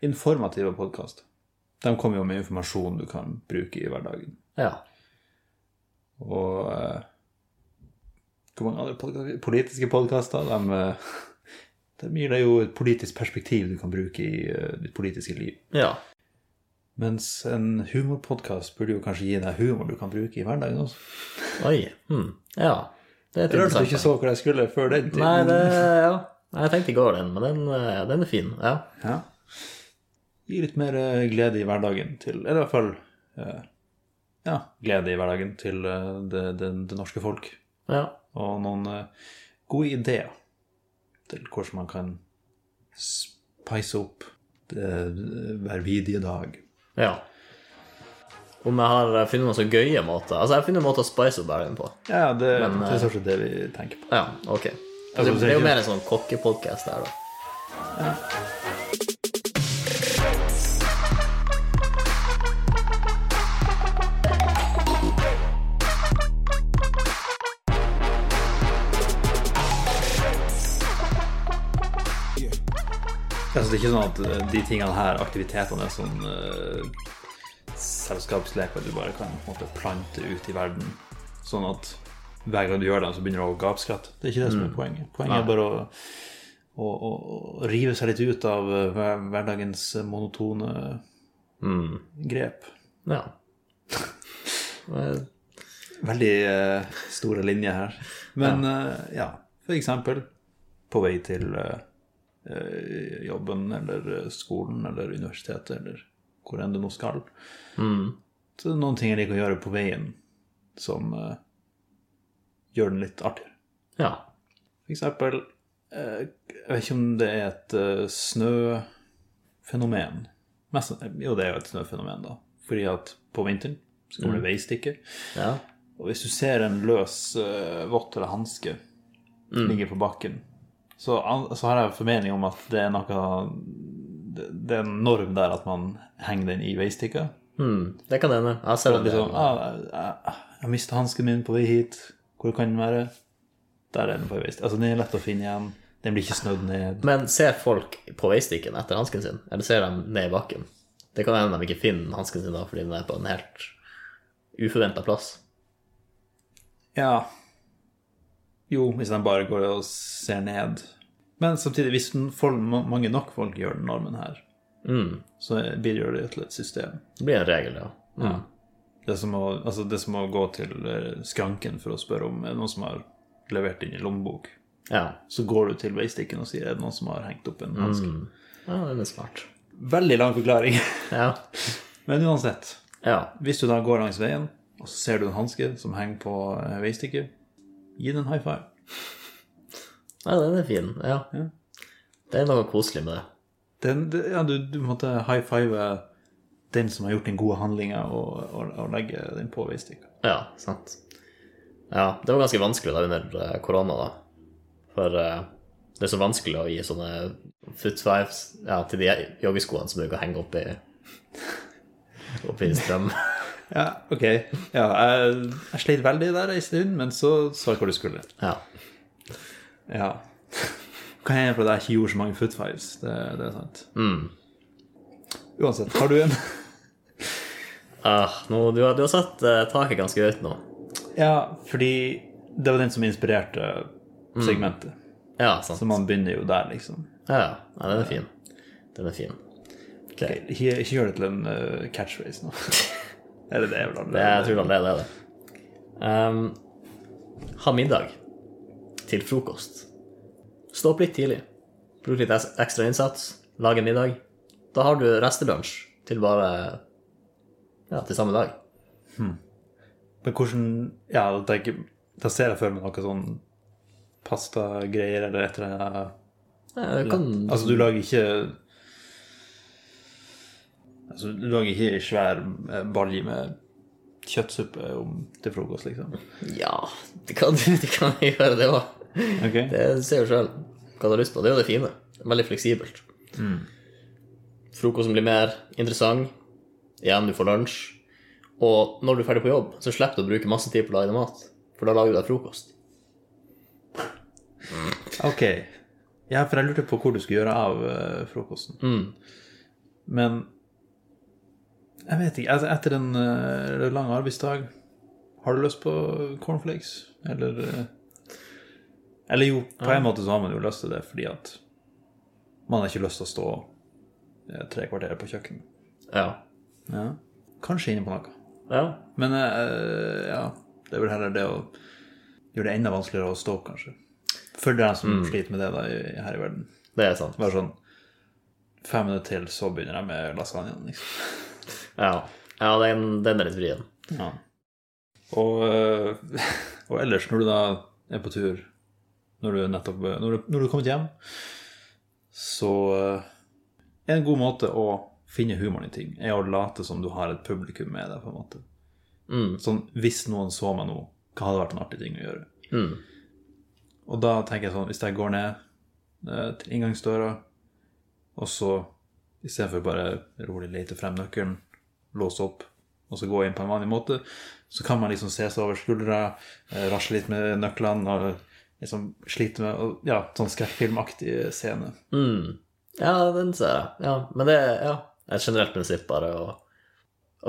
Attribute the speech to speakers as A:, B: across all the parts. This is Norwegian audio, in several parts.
A: informative podkast. De kommer jo med informasjon du kan bruke i hverdagen.
B: Ja.
A: Og eh, hvor mange andre podkaster? Politiske podkaster. De, eh, de gir deg jo et politisk perspektiv du kan bruke i eh, ditt politiske liv.
B: ja.
A: Mens en humorpodkast burde jo kanskje gi deg humor du kan bruke i hverdagen også.
B: Oi. Hmm. Ja. Det er et
A: Jeg rørte
B: interessant
A: ikke så hvor jeg skulle før den
B: poeng. Nei, det, ja. Nei, jeg tenkte i går den, men den, eh, den er fin. Ja.
A: Ja. Gi litt mer eh, glede i hverdagen til Eller i hvert fall eh, ja, glede i hverdagen til eh, det, det, det norske folk.
B: ja.
A: Og noen eh, gode ideer til hvordan man kan spice opp det, hver vidige dag.
B: Ja. Om jeg har eh, funnet noen så gøye måter Altså, jeg har funnet måter å spice opp hverdagen på.
A: Ja, det,
B: Men,
A: det
B: eh,
A: er stort sett det vi tenker på.
B: Ja, ok.
A: Altså,
B: det, det er jo mer en sånn kokkepodkast der, da.
A: Altså, det er ikke sånn at eh, de tingene her, aktivitetene, er sånn uh, selskapsleker du bare kan på en måte plante ut i verden. Sånn at hver gang du gjør dem, så begynner du å gapskratte. Det er ikke det som er poenget. Poenget er bare å, å, å, å rive seg litt ut av eh, hver, hverdagens monotone grep.
B: Ja. Eh,
A: Veldig eh, store linjer her. Men eh, ja, for eksempel på vei til eh, eh, jobben eller eh, skolen eller universitetet eller hvor enn du nå skal. Så det er noen ting jeg liker å gjøre på veien som eh, gjør den litt artigere.
B: Ja.
A: For eksempel, eh, jeg vet ikke om det er et eh, snøfenomen. Mest, jo, det er jo et snøfenomen, da. Fordi at på vinteren så kommer det veistikker.
B: Ja.
A: Og hvis du ser en løs uh, vått eller hanske ligge på bakken, så, an- så har jeg en formening om at det er noe det, det er en norm der at man henger den i veistikka.
B: Hmm. Det kan hende. Jeg ser det.
A: Liksom, ah, jeg, jeg mista hansken min på vei hit. Hvor kan den være? Der er den på vei. Altså, den er lett å finne igjen. Den blir ikke snødd ned.
B: Men ser folk på veistikken etter hansken sin, eller ser de ned i bakken? Det kan hende de ikke finner hansken sin da, fordi den er på en helt uforventa plass.
A: Ja. Jo, hvis den bare går og ser ned. Men samtidig, hvis den folk, ma- mange nok folk gjør den normen her, så bidrar det til et system.
B: Mm. Det blir en regel, ja. Mm.
A: Det er som å, altså det er som å gå til eh, skranken for å spørre om er det noen som har levert inn i lommebok.
B: Ja.
A: Så går du til veistikken og sier er det noen som har hengt opp en hanske.
B: ja, den er smart.
A: Veldig lang forklaring.
B: Ja.
A: Men uansett,
B: ja.
A: hvis du da går langs veien, og så ser du en hanske som henger på eh, veistikket, gi den en high five.
B: Ja, den er fin. Ja.
A: Ja.
B: Det er noe koselig med det.
A: Den, det- ja, du, du måtte high five den som har gjort den gode handlinga, og, og, og legge den på veistikka.
B: Ja, sant. Ja, det var ganske vanskelig da under eh, korona, da. For eh, det er så vanskelig å gi sånne foot fives ja, til de joggeskoene som bruker å henge oppi, oppi strøm.
A: Ja, ok. Ja, jeg, jeg sleit veldig der en stund, men så så jeg hvor du skulle.
B: Ja.
A: Ja. Hva er det for at jeg ikke gjorde så mange foot fives? Det, det er sant. Uansett, har du en
B: Ah, nå, du, har, du har satt eh, taket ganske høyt nå.
A: Ja, fordi det var den som inspirerte segmentet.
B: Ja, sant.
A: Så man begynner jo der, liksom.
B: Ja, ja. Nei, den er fin. Den er fin.
A: Ikke, ikke gjør det til en eh, catchphrase nå. Eller det er vel
B: Det, jeg
A: allerede
B: tror allerede det er det. Um, ha middag til frokost. Stå opp litt tidlig. Bruk litt es- ekstra innsats. Lag en middag. Da har du restelunsj til bare Ja, til samme dag.
A: Men hvordan Ja, da tenker Da ser jeg for meg noe sånn pastagreier eller et eller annet.
B: Ja, du kan,
A: Altså, du lager ikke Altså, du lager ikke ei svær eh, balje med kjøttsuppe om, til frokost, liksom.
B: ja, du kan, du kan gjøre det òg.
A: Ok?
B: Det ser jo sjøl hva du har lyst på. Det er jo det fine. Veldig fleksibelt. Mm. Frokosten blir mer interessant. Igjen, du får lunsj. Og når du er ferdig på jobb, så slipper du å bruke masse tid på å lage deg mat. For da lager du deg frokost.
A: Ok. Ja, for jeg lurte på hvor du skulle gjøre av eh, frokosten. Men jeg vet ikke. et- Etter en eh, lang arbeidsdag, har du lyst på cornflakes? Eller eh, Eller jo, på en måte så har man jo lyst til det fordi at man har ikke lyst til å stå eh, tre kvarter på kjøkkenet.
B: Ja.
A: Ja. Kanskje inne på noe.
B: ja.
A: Men eh, ja, det er vel heller det å gjøre det enda vanskeligere å stå opp, kanskje. For dem som sliter med det da, i- her i verden.
B: Det er sant.
A: Bare sånn Fem minutter til, så begynner jeg med lasagnen, liksom.
B: Ja, ja den, den er litt vrien.
A: Ja. Og, eh, og ellers, når du da er på tur, når du er nettopp Når du, når du er kommet hjem, så eh, er en god måte å finne humoren i ting, er å late som du har et publikum med deg, på en måte.
B: Mm.
A: Sånn, hvis noen så meg nå, hva hadde vært en artig ting å gjøre?
B: Mm.
A: Og da tenker jeg sånn, hvis jeg går ned eh, til inngangsdøra, og så i stedet for bare rolig lete frem nøkkelen, låse opp, og så gå inn på en vanlig måte, så kan man liksom se seg over skuldra, eh, rasle litt med nøklene, og liksom slite med, og, ja, sånn skrekkfilmaktig scene.
B: Mm. Ja, den ser jeg. Ja, men det er ja, et generelt prinsipp bare å,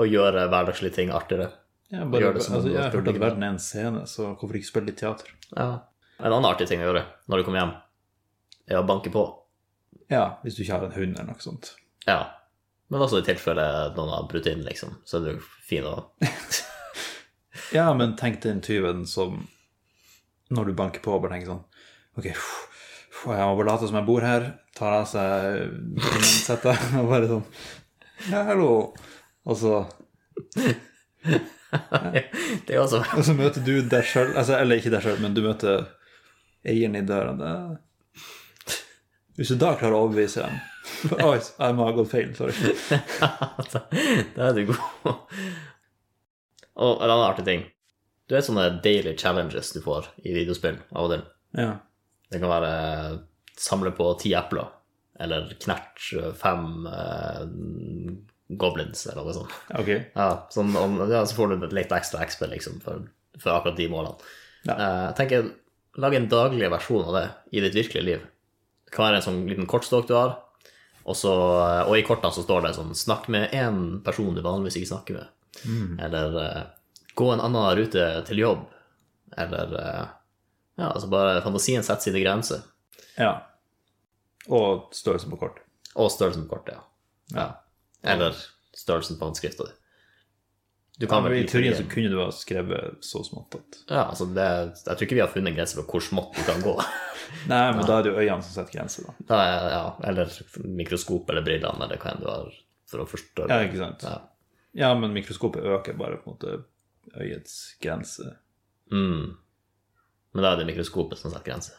B: å gjøre hverdagslige ting artigere.
A: Ja, bare,
B: Gjør det som om
A: altså,
B: du
A: jeg
B: har
A: har hørt
B: publikum.
A: at verden er en scene, så hvorfor ikke spille litt teater?
B: Ja. En annen artig ting å gjøre når du kommer hjem, er å banke på.
A: Ja, hvis du ikke har en hund eller noe sånt.
B: Ja. Men også i tilfelle noen har brutt inn, liksom, så er det jo fin å
A: Ja, men tenk den tyven som Når du banker på, bare tenker sånn Ok, pff, pff, jeg må bare late som jeg bor her. Tar av seg setet og bare sånn Ja, hallo. Og så,
B: Det er jo også
A: og så møter du deg sjøl, altså, eller ikke deg sjøl, men du møter eieren i døra. Det... Hvis du da klarer å overbevise dem Oi, jeg må ha gått feil. Sorry.
B: Altså, Da er du god. Og en annen artig ting. Du vet sånne daily challenges du får i videospill av og til.
A: Ja.
B: Det kan være eh, samle på ti epler, eller knert fem eh, goblins, eller noe sånt.
A: Ok.
B: Ja, sånn, om, ja, så får du litt ekstra XP, liksom, for, for akkurat de målene.
A: Ja.
B: Eh, jeg tenker, lag en daglig versjon av det i ditt virkelige liv. Det kan være en sånn liten kortstokk du har, og, så, eh, og i kortene så står det sånn Snakk med én person du vanligvis ikke snakker med.
A: Mm.
B: Eller eh, gå en annen rute til jobb. Eller eh, Ja, altså bare fantasien setter sine grenser.
A: Ja. Og størrelsen på kort.
B: Og størrelsen på kortet, ja. ja. Eller størrelsen på håndskrifta di. Du kan vel
A: I
B: bli
A: teorien
B: forvirret.
A: så kunne du ha skrevet så smått at
B: Ja, altså det, jeg tror ikke vi har funnet en grense for hvor smått du kan gå.
A: Nei, men da er det jo øynene som setter grenser, da.
B: Da er, ja, eller mikroskop eller brillene eller hva enn du har for å forstå
A: Ja, ikke sant?
B: Ja.
A: Ja, men mikroskopet øker bare på en måte øyets grense.
B: Mm. Men da er det mikroskopet som setter grenser.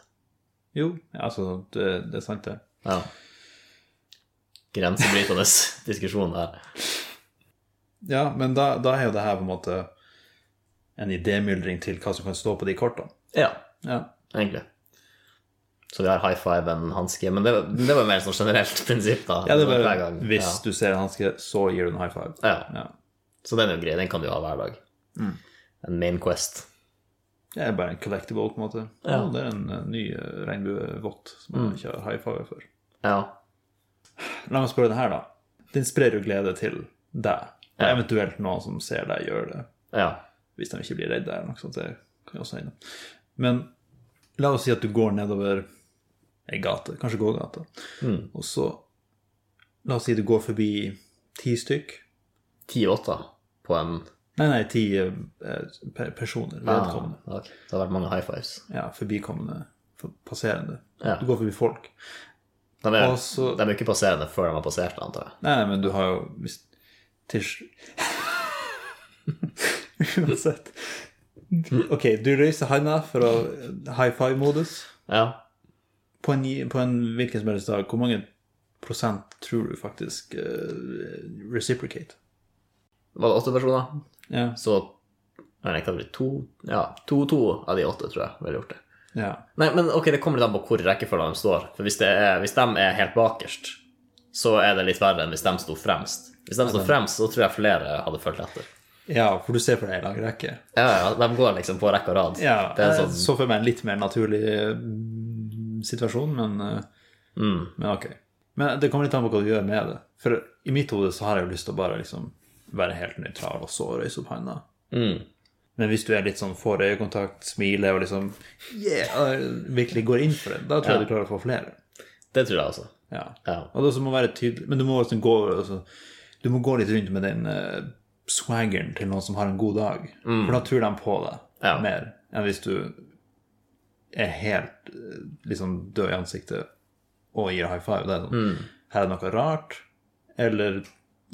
A: Jo, ja, altså, det, det er sant, det.
B: Ja. Grensebrytende diskusjon her.
A: Ja, men da, da er jo det her på en måte en idémyldring til hva som kan stå på de kortene.
B: Ja,
A: Ja.
B: egentlig. Så vi har high five en hanske, men det, det var mer sånn generelt prinsipp, da.
A: ja, det er
B: Hver
A: bare
B: gang.
A: hvis
B: Ja.
A: du ser en hanske, så gir du en high five.
B: Ja.
A: Ja.
B: Så den er jo grei, den kan du ha hver dag.
A: Mm.
B: En main quest.
A: Det er bare en collectible, på en måte. Ja. det er en eh, ny eh, regnbuevott som man
B: Mm.
A: ikke har high five for.
B: Ja.
A: La meg spørre det her, da. Den sprer jo glede til deg, og eventuelt noen som ser deg gjøre det.
B: ja.
A: hvis de ikke blir redde eller noe sånt. Det kan jo også hende. Men la oss si at du går nedover ei gate, kanskje gågata, og så La oss si du går forbi ti stykk.
B: Ti åtter på en
A: Nei, nei, ti eh, per- personer. Vedkommende.
B: Ah, ok. Det har vært mange high fives.
A: Ja, forbikommende, for- passerende.
B: Ja.
A: Du går forbi folk.
B: De er,
A: Og så-
B: de er jo ikke passerende før de har passert, antar jeg.
A: Nei, nei, men du har jo hvis, til, sl- Uansett. Ok, du reiser handa for å high five-modus.
B: Ja.
A: på en, på en hvilken som helst dag, hvor mange prosent tror du faktisk eh, reciprocate?
B: Var det åtte personer?
A: Ja.
B: Så jeg regnet med to Ja, to-to av de åtte, tror jeg, ville gjort det.
A: ja.
B: Nei, men ok, det kommer litt an på hvor i rekkefølgen de står. For hvis, det er, hvis de er helt bakerst, så er det litt verre enn hvis de sto fremst. Hvis de sto fremst, så tror jeg flere hadde fulgt etter.
A: Ja, for du ser for deg en lang rekke.
B: Ja, ja, de går liksom på rekke og rad.
A: Ja,
B: det er
A: jeg
B: sånn,
A: så mm,
B: Mm.
A: for meg en litt mer naturlig eh, situasjon, men, eh, men ok. Men det kommer litt an på hva du gjør med det. For i mitt hode så har jeg jo lyst til å bare liksom være helt nøytral og så røyse opp handa.
B: Mm.
A: Men hvis du er litt sånn får øyekontakt, smiler og liksom yeah, og virkelig går inn for det, da tror jeg du klarer å få flere.
B: Det tror jeg, altså.
A: Ja.
B: Ja.
A: Og det også må være tydelig Men du må, liksom gå, altså, du må gå litt rundt med den eh, swaggeren til noen som har en god dag. For da tror de på deg
B: Mm. Ja.
A: mer enn hvis du er helt eh, liksom død i ansiktet og gir high five. Det er
B: Mm.
A: sånn Her er det noe rart, eller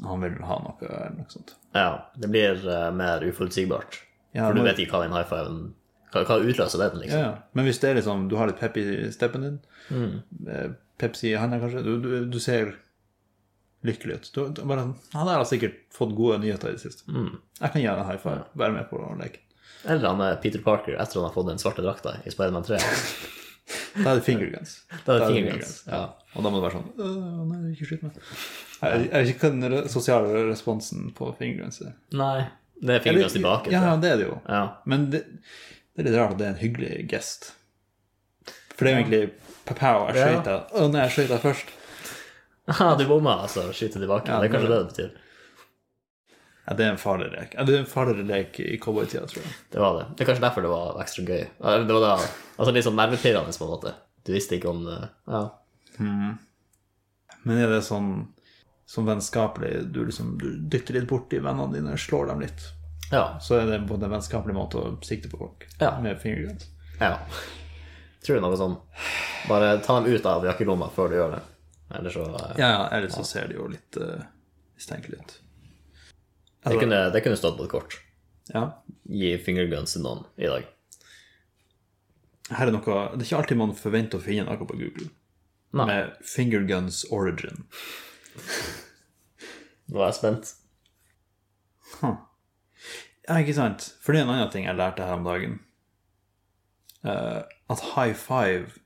A: han vil ha noe, eller noe sånt.
B: ja. Det blir eh, mer uforutsigbart.
A: Ja,
B: For du
A: men-
B: vet ikke hva den high fiven hva, hva utløser den,
A: Ja,
B: liksom.
A: ja. Men hvis det er liksom, du har litt pep i steppen din,
B: Mm.
A: eh, Pepsi i handa kanskje, du, du, du ser lykkelig ut. Du, du, bare, han der har sikkert fått gode nyheter i det siste.
B: Mm.
A: Jeg kan gi han en high five, være med på leken.
B: Eller han er Peter Parker etter han har fått den svarte drakta i Spiderman 3.
A: Da er det finger guns.
B: Da er det
A: Da
B: finger guns. Ja.
A: Og da må det være sånn «Øh, Nei, ikke skyt meg. Jeg jeg vet ikke hva den re- sosiale responsen på finger guns er.
B: Nei, det er
A: Eller-
B: finger guns tilbake.
A: Ja,
B: tror jeg.
A: ja, det er det jo.
B: Ja.
A: Men det, det er litt rart at det er en hyggelig gest. For det er jo egentlig Papau, jeg
B: Ja.
A: skøyt deg. Å nei, jeg skøyt deg først.
B: Aha, du bomma, altså. Skyter tilbake.
A: Ja,
B: det er
A: det
B: kanskje
A: var
B: det det betyr.
A: Ja, det er en farlig lek. Ja, det er en farligere lek i cowboytida, tror jeg.
B: Det var det. Det er kanskje derfor det var ekstra gøy. Eller, Det var da, altså Litt sånn nervepirrende, på en måte. Du visste ikke om eh, Ja.
A: Men er det sånn, sånn vennskapelig Du liksom du dytter litt borti vennene dine, slår dem litt.
B: Ja.
A: Så er det både en vennskapelig måte å sikte på folk
B: Ja.
A: med fingerguns.
B: ja. Tror det er noe sånn Bare ta dem ut av jakkelomma før du gjør det. Eller så eh,
A: Ja, ja, ellers så ser det jo litt eh, mistenkelig ut.
B: det, kunne, det kunne stått på et kort.
A: Ja.
B: Gi fingerguns til noen i dag.
A: Her er noe Det er ikke alltid man forventer å finne noe på Google.
B: Nei.
A: Med fingerguns origin.
B: Nå er jeg spent.
A: Ja, ikke sant? For det er en annen ting jeg lærte her om dagen. Eh, at high five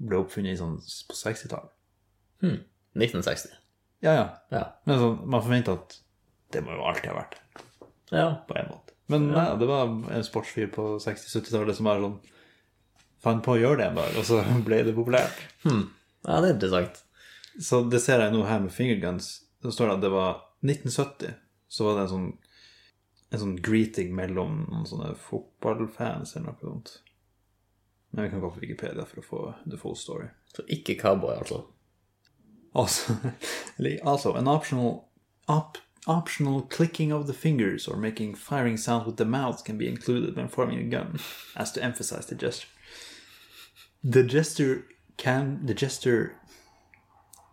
A: ble oppfunnet i sånn på 60-tallet.
B: 1960.
A: Ja, ja.
B: Ja.
A: Men sånn, man forventer at det må jo alltid ha vært det,
B: ja.
A: på en måte. Men nei, det var en sportsfyr på 60-70-tallet som bare sånn fant på å gjøre det en dag, og så ble det populært.
B: Ja, det er interessant.
A: Så det ser jeg nå her med fingerguns. Så står det at det var 1970, så var det en sånn, en sånn greeting mellom noen sånne fotballfans eller noe sånt. Men vi kan gå på Wikipedia for å få the full story.
B: Så ikke cowboy, altså.
A: Also, eller, also an optional op, optional clicking of the fingers or making firing sounds with the mouth can be included when forming a gun, as to emphasize the gesture. The gesture can the gesture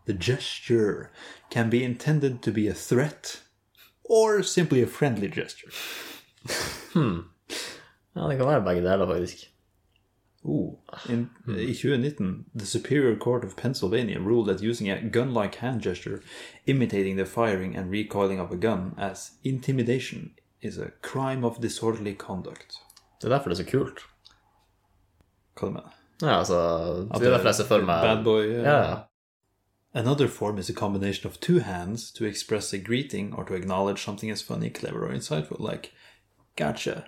A: the gesture can be intended to be a threat or simply a friendly gesture.
B: Ja, det kan være begge deler, faktisk.
A: Ooh. In, eh, I 2019, the Superior Court of Pennsylvania ruled that using a gun like hand gesture, imitating the firing and recoiling of a gun as intimidation, is a crime of disorderly conduct.
B: Det er derfor det er så kult.
A: Hva du mener
B: Ja, altså Det er derfor jeg ser for meg
A: Bad boy. eh.
B: Ja, ja.
A: Another form is a combination of two hands to express a greeting or to acknowledge something as funny, clever, or insightful, like gotcha,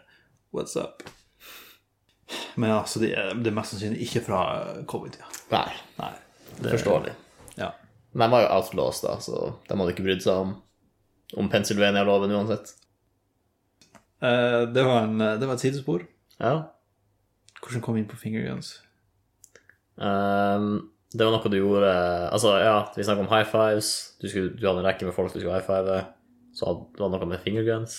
A: what's up? Men altså, det er, det er mest sannsynlig ikke fra eh, covid-tida.
B: Nei,
A: Nei.
B: det forstår vi.
A: Ja.
B: Men de var jo outlaws, da, så de hadde ikke brydd seg om, om Pennsylvania-loven uansett.
A: Eh, det, var en, det var et sidespor.
B: Ja.
A: Hvordan kom vi inn på fingerguns?
B: Ehm, det var noe du gjorde Altså, ja, vi snakket om high fives. Du, skulle, du hadde en rekke med folk du skulle high five. Så hadde- det var noe med fingerguns.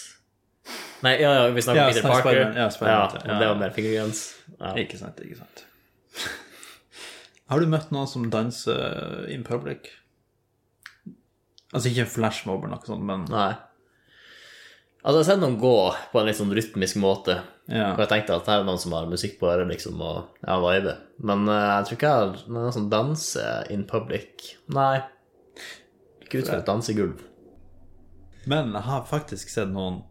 B: Nei, ja, ja, vi snakket
A: Ja,
B: om Peter
A: Spider-
B: Parker.
A: Spider-Man, ja, Spider-Man,
B: ja,
A: ja.
B: Det var mer fingerguns. Ja.
A: Ikke sant, ikke sant. Har du møtt noen som danser in public? Altså ikke en flashmob eller noe sånt, men
B: Nei. Altså, jeg har sett noen gå på en litt sånn rytmisk måte.
A: ja.
B: Og jeg tenkte at her er noen som har musikk på øret, liksom, og ja, vibe. Men eh, jeg tror ikke jeg har men noen som danser in public. Nei. Ikke ut fra et dansegulv.
A: Men jeg har faktisk sett noen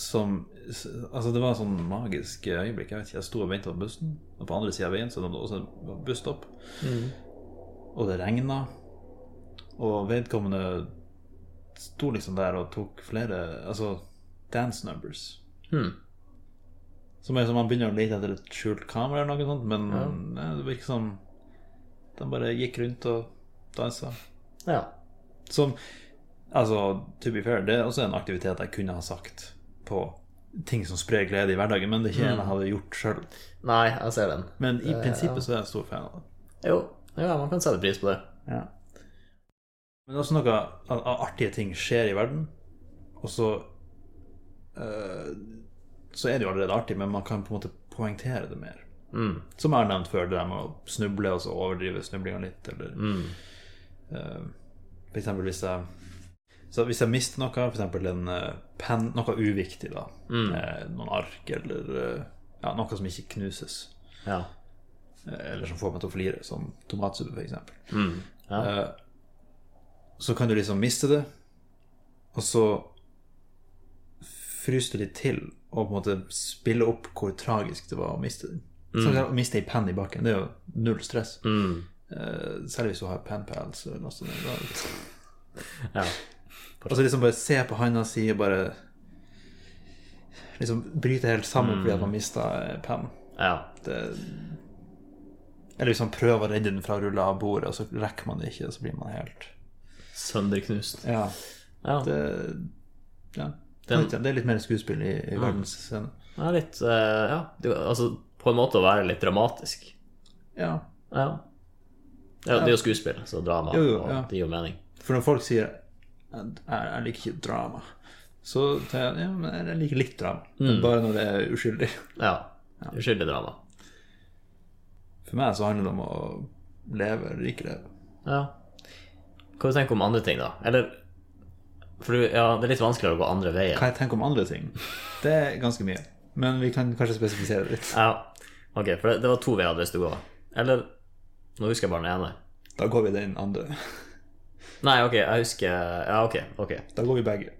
A: som Altså, det var et sånn magisk øyeblikk. Jeg vet ikke, jeg sto og venta på bussen, og på andre sida av veien så var det også en busstopp. Og det regna, og vedkommende sto liksom der og tok flere Altså dance numbers.
B: Hmm.
A: Som er som man begynner å lete etter et skjult kamera eller noe sånt, men eh, det virker som de bare gikk rundt og dansa.
B: Ja.
A: Som Altså, to be fair, det er også en aktivitet jeg kunne ha sagt på ting som sprer glede i hverdagen, men det er ikke en jeg hadde gjort sjøl.
B: Nei, jeg ser den.
A: Men i prinsippet så Mm. er jeg stor fan av det.
B: Jo, ja, man kan sette pris på det.
A: Ja. Men det er også noe av av artige ting skjer i verden, og så eh, Så er det jo allerede artig, men man kan på en måte poengtere det mer.
B: Mm.
A: Som jeg har nevnt før, det der med å snuble og så overdrive snublinga litt, eller
B: Mm.
A: eh, For eksempel hvis jeg så hvis jeg mister noe, f.eks. en eh, penn, noe uviktig, da.
B: Mm.
A: eh, noen ark eller eh, ja, noe som ikke knuses,
B: Ja.
A: eh, eller som får meg til å flire, som tomatsuppe, f.eks.
B: Mm. Ja.
A: Eh, så kan du liksom miste det, og så fryser du litt til og på en måte spille opp hvor tragisk det var å miste den. Så det Å miste ei penn i bakken, det er jo null stress.
B: Mm.
A: Eh, særlig hvis du har pen pals eller noe sånt. Da-
B: ja.
A: Og så liksom bare se på handa si og bare Liksom bryte helt sammen fordi at man mista pennen.
B: ja.
A: Det- Eller liksom prøve å redde den fra å rulle av bordet, og så rekker man det ikke, og så blir man helt
B: Sønderknust.
A: Ja.
B: Ja.
A: Det, ja.
B: Den-
A: Litt- det er litt mer skuespill i, i verdens scene.
B: Det er litt eh, Ja, det, altså på en måte å være litt dramatisk.
A: Ja.
B: Ja. ja det er jo skuespill, så drama
A: Jo, jo,
B: og
A: ja.
B: det gir jo mening.
A: For når folk sier jeg, 'jeg liker ikke drama', så tenker jeg ja, men jeg liker litt drama. Men Bare når det er uskyldig.
B: Ja. Uskyldig drama.
A: For meg så handler det om å leve eller ikke leve.
B: Ja. Hva du tenker du om andre ting, da? Eller For du, ja, det er litt vanskeligere å gå andre veien.
A: Hva jeg tenker om andre ting, det er ganske mye. Men vi kan kanskje spesifisere det litt.
B: Ja. Ok, for det, det var to veier jeg hadde lyst til å gå. Eller Nå husker jeg bare den ene.
A: Da går vi den andre.
B: Nei, ok, jeg husker Ja, ok. ok
A: Da går vi begge.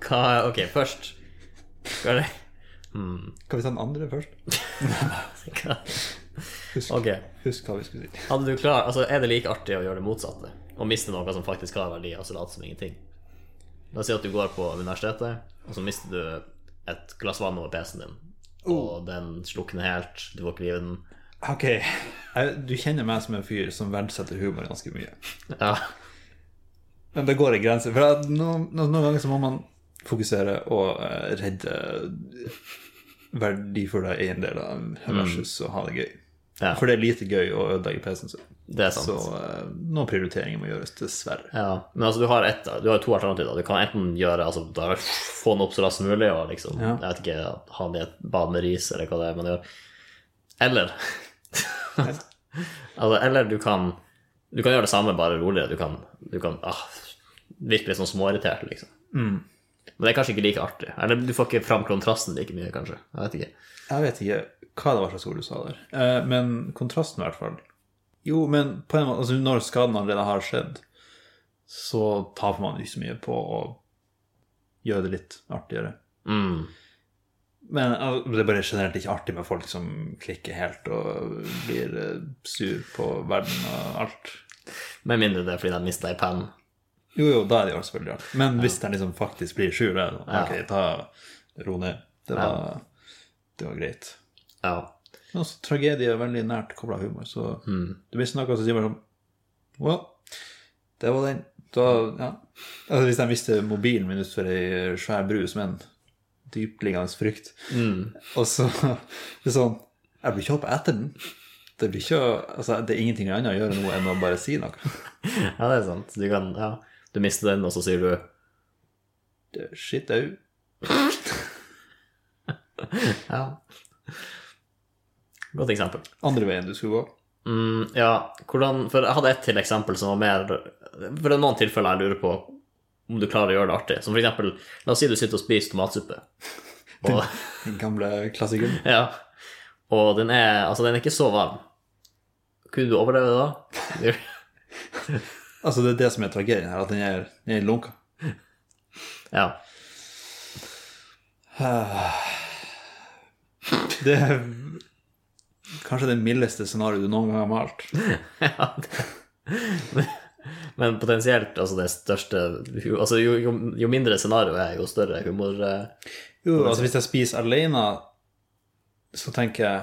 B: Hva Ok, først Hva er det?
A: Kan vi ta den andre først?
B: Hva?
A: Husk,
B: Ok.
A: husk hva vi skulle si.
B: Hadde du klar, altså Er det like artig å gjøre det motsatte? Å miste noe som faktisk har verdi, og så late som ingenting? La oss si at du går på universitetet, og så mister du et glass vann over PC-en din. Og den slukner helt, du får ikke liv i den.
A: Ok, jeg, du kjenner meg som en fyr som verdsetter humor ganske mye.
B: Ja.
A: Men det går en grense. For at noen, noen, noen ganger så må man fokusere og eh, redde verdifulle eiendeler versus å ha det gøy.
B: Mm. Ja.
A: For det er lite gøy å ødelegge PC-en sin.
B: Det er sant.
A: Så eh, noen prioriteringer må gjøres, dessverre.
B: Ja, Men altså, du har, et, du har to alternativer. Du kan enten gjøre altså, da, få den opp så raskt som mulig og liksom,
A: Ja.
B: jeg vet ikke, ha den i et bad med ris, eller hva det er man gjør. Eller altså, Eller du kan Du kan gjøre det samme, bare roligere. Du kan, du kan ah, virke litt sånn småirritert, liksom. Men det er kanskje ikke like artig. Eller du får ikke fram kontrasten like mye, kanskje. Jeg vet ikke.
A: Jeg vet ikke hva det var slags ord du sa der, Eh, men kontrasten i hvert fall Jo, men på en måte, altså når skaden allerede har skjedd, så taper man ikke så mye på å gjøre det litt artigere.
B: Mm.
A: Men altså, det er bare generelt ikke artig med folk som klikker helt og blir eh, sur på verden og alt.
B: Med mindre det er fordi de mista ei penn.
A: Jo, jo, da er det jo selvfølgelig artig. Men hvis den liksom faktisk blir sur, da er det sånn, ok, ta ro ned. Det var, det var greit.
B: Ja.
A: Men også tragedie er veldig nært kobla humor, så
B: Mm.
A: du mister noe, så sier man sånn Well, det var den. Da, ja. Altså, hvis jeg mister mobilen min utfor ei eh, svær bru som en dyptliggende frykt,
B: Mm.
A: og så det er sånn Jeg blir ikke hoppe etter den. Det, blir ikke, å- altså, det er ingenting annet å gjøre nå enn å bare si noe.
B: ja, det er sant. Du kan Ja, du mister den, og så sier du
A: Det, shit au.
B: Ja. Godt eksempel.
A: Andre veien du skulle gå.
B: Mm, ja, hvordan For jeg hadde ett til eksempel som var mer For det er noen tilfeller jeg lurer på om du klarer å gjøre det artig. Som for eksempel, la oss si du sitter og spiser tomatsuppe. Og,
A: Den gamle klassikeren.
B: ja, og den er Altså, den er ikke så varm. Kunne du overleve det da?
A: Altså, det er det som er tragedien her, at den er, den er lunka.
B: Ja.
A: Det er kanskje det mildeste scenarioet du noen gang har malt.
B: ja det. Men potensielt, altså det største hu- altså Jo, jo, jo mindre scenario er, jo større humor eh,
A: Jo, altså hvis jeg spiser alene, så
B: Mm.
A: tenker jeg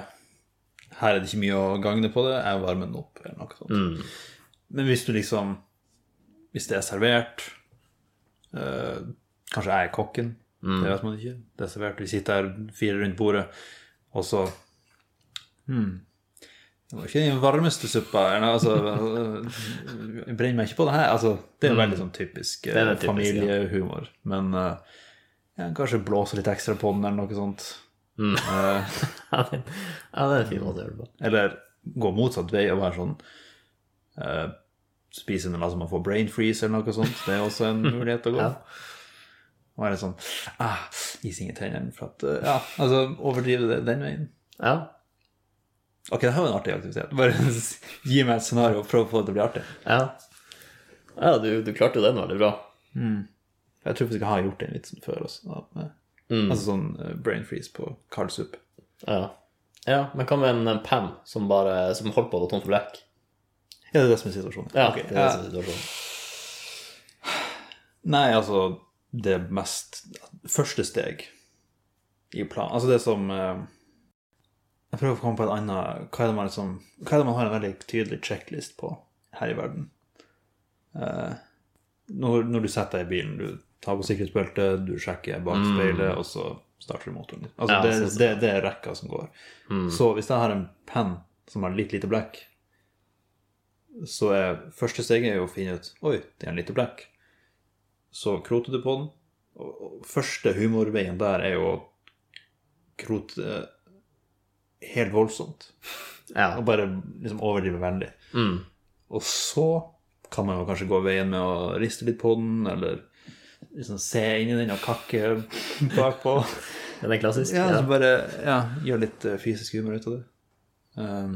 A: her er det ikke mye å gagne på det, jeg varmer den opp eller noe sånt. Men hvis du liksom Hvis det er servert eh, Kanskje jeg er kokken,
B: Mm.
A: det vet man ikke. Det er servert, vi sitter her fire rundt bordet, og så hmm, Det var ikke den varmeste suppa eller, altså, Jeg brenner meg ikke på det her. Altså, det er jo veldig sånn typisk, eh,
B: Mm. Det er det typiske, ja.
A: familiehumor. Men eh, ja, kanskje blåse litt ekstra på den, eller noe sånt. Eh,
B: Ja, det ja, det er en fin måte å gjøre det på.
A: eller gå motsatt vei og være sånn eh, Spise under altså man får brain freeze eller noe sånt. Det er også en mulighet å gå.
B: Ja.
A: Og være sånn ah, Ising i tennene for at eh, Ja, altså overdrive det den veien.
B: Ja.
A: Ok, det her var en artig aktivitet. Bare gi meg et scenario og prøv å få det til å bli artig.
B: Ja, ja du, du klarte jo den veldig bra.
A: Jeg tror faktisk jeg har gjort den vitsen før også. Da, med,
B: Mm.
A: Altså sånn eh, brain freeze på kald suppe.
B: Ja. ja, men hva med en Pam som, bare, som holdt på å gå tom for lekk?
A: Ja, det er det som er situasjonen.
B: Ja,
A: Ok,
B: det er
A: ja.
B: det som er situasjonen.
A: Nei, altså Det mest Første steg i planen Altså det som eh, Jeg prøver å komme på et annet Hva er det man liksom Hva er det man har en veldig tydelig checklist på her i verden? Eh, når, når du setter deg i bilen, du tar på sikkerhetsbeltet, du sjekker bakspeilet, og så starter du motoren. Altså
B: Mm. Ja,
A: det,
B: sånn Mm. som-
A: det, det er rekka som går. Så hvis jeg har en penn som har litt lite blekk, så er første steget er jo å finne ut Oi, det er en lite blekk så kroter du på den. Og og første humorveien der er jo å krote eh, helt voldsomt. Og
B: Ja.
A: bare liksom overdrive vennlig.
B: Mm.
A: Og så kan man jo kanskje gå veien med å riste litt på den, eller liksom se inn i den og kakke bakpå.
B: Er den klassisk?
A: Ja, altså bare ja, gjøre litt eh, fysisk humor ut av det. Um,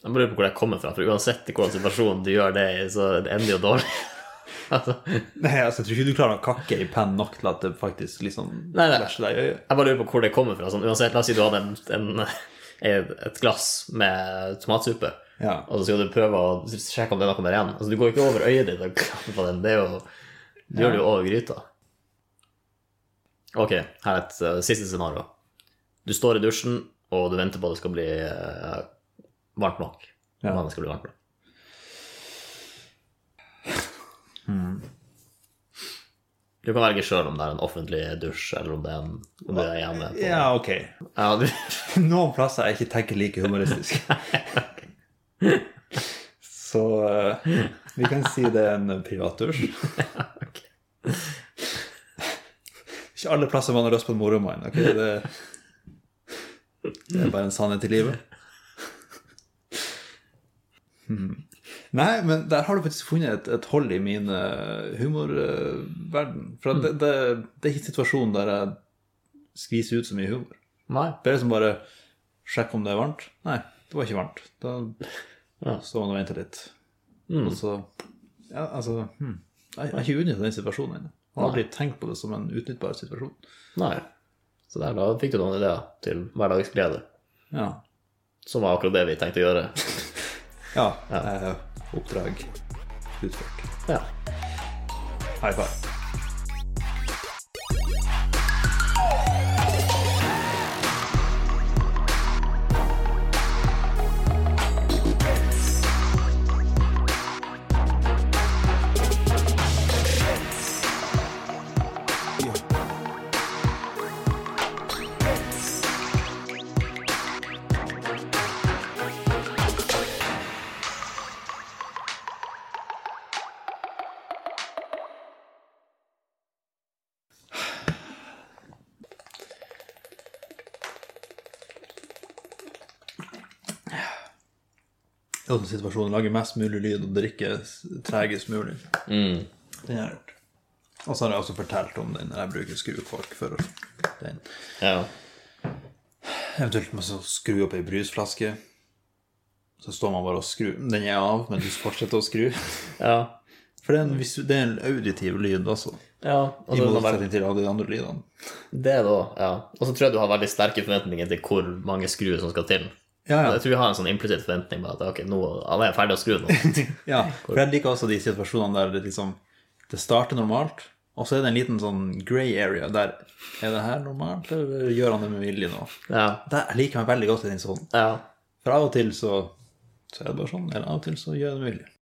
B: Jeg bare lurer på hvor det kommer fra, for uansett i hvilken situasjon du gjør det i, så det ender jo dårlig. altså, jeg
A: nei, altså, jeg tror ikke du klarer å kakke i pennen nok til at det faktisk liksom
B: Nei, nei.
A: flasher deg i øyet.
B: bare lurer på hvor det kommer fra. Sånn, uansett, la oss si du hadde en, en, et glass med tomatsuppe,
A: Ja.
B: og så skal du prøve å sjekke om det er noe mer igjen. Altså, du går ikke over øyet ditt og klapper på den. Det er jo, du gjør det jo over gryta. Ok, her er et eh, siste scenario. Du står i dusjen, og du venter på at det skal bli eh, varmt nok.
A: Ja.
B: Vannet skal bli varmt nok.
A: Hmm.
B: Du kan velge sjøl om det er en offentlig dusj, eller om det er, en, om det er hjemme. På.
A: ja, ok.
B: Ja, du,
A: noen plasser jeg ikke tenker like humoristisk. Så eh, vi kan si det er en privatdusj. Ikke alle plasser man har lyst på en moromann. ok? Det, det er bare en sannhet i livet. Hmm. Nei, men der har du faktisk funnet et, et hold i min eh, humorverden. For at det, det, det er ikke situasjonen der jeg skviser ut så mye humor.
B: nei.
A: Det er liksom bare sjekk om det er varmt. Nei, det var ikke varmt. Da
B: Ja.
A: står man og venter litt. Og så Ja, altså hmm. Jeg jeg har ikke utnytta den situasjonen ennå. Jeg har aldri tenkt på det som en utnyttbar situasjon.
B: nei. Så der, da fikk du noen ideer til hverdagsglede,
A: Ja.
B: som var akkurat det vi tenkte å gjøre.
A: ja. Eh, oppdrag utført.
B: Ja.
A: High five. I den situasjonen lage mest mulig lyd og drikke s- tregest mulig. Den har jeg gjort. Og så har jeg også fortalt om den når jeg bruker skrukork for den.
B: Ja.
A: Eventuelt med å skru opp ei brusflaske. Så står man bare og skrur. Den er av, men du fortsetter å skru.
B: Ja.
A: For det er en, visu- det er en auditiv lyd også.
B: ja. Og
A: I
B: så er Altså, det bare-
A: motsetning til alle de andre lydene.
B: det da, ja. Og så tror jeg du har veldig sterke forventninger til hvor mange skruer som skal til.
A: Ja, ja.
B: Jeg tror vi har en sånn implisitt forventning på at ok, nå, alle er ferdig å skru nå.
A: ja. For jeg liker også de situasjonene der det liksom Det starter normalt, og så er det en liten sånn grey area der Er det her normalt, eller gjør han det med vilje nå?
B: Ja.
A: Der jeg liker meg veldig godt i den sånn.
B: ja.
A: For av og til så Så er det bare sånn. Eller av og til så gjør jeg det mulig.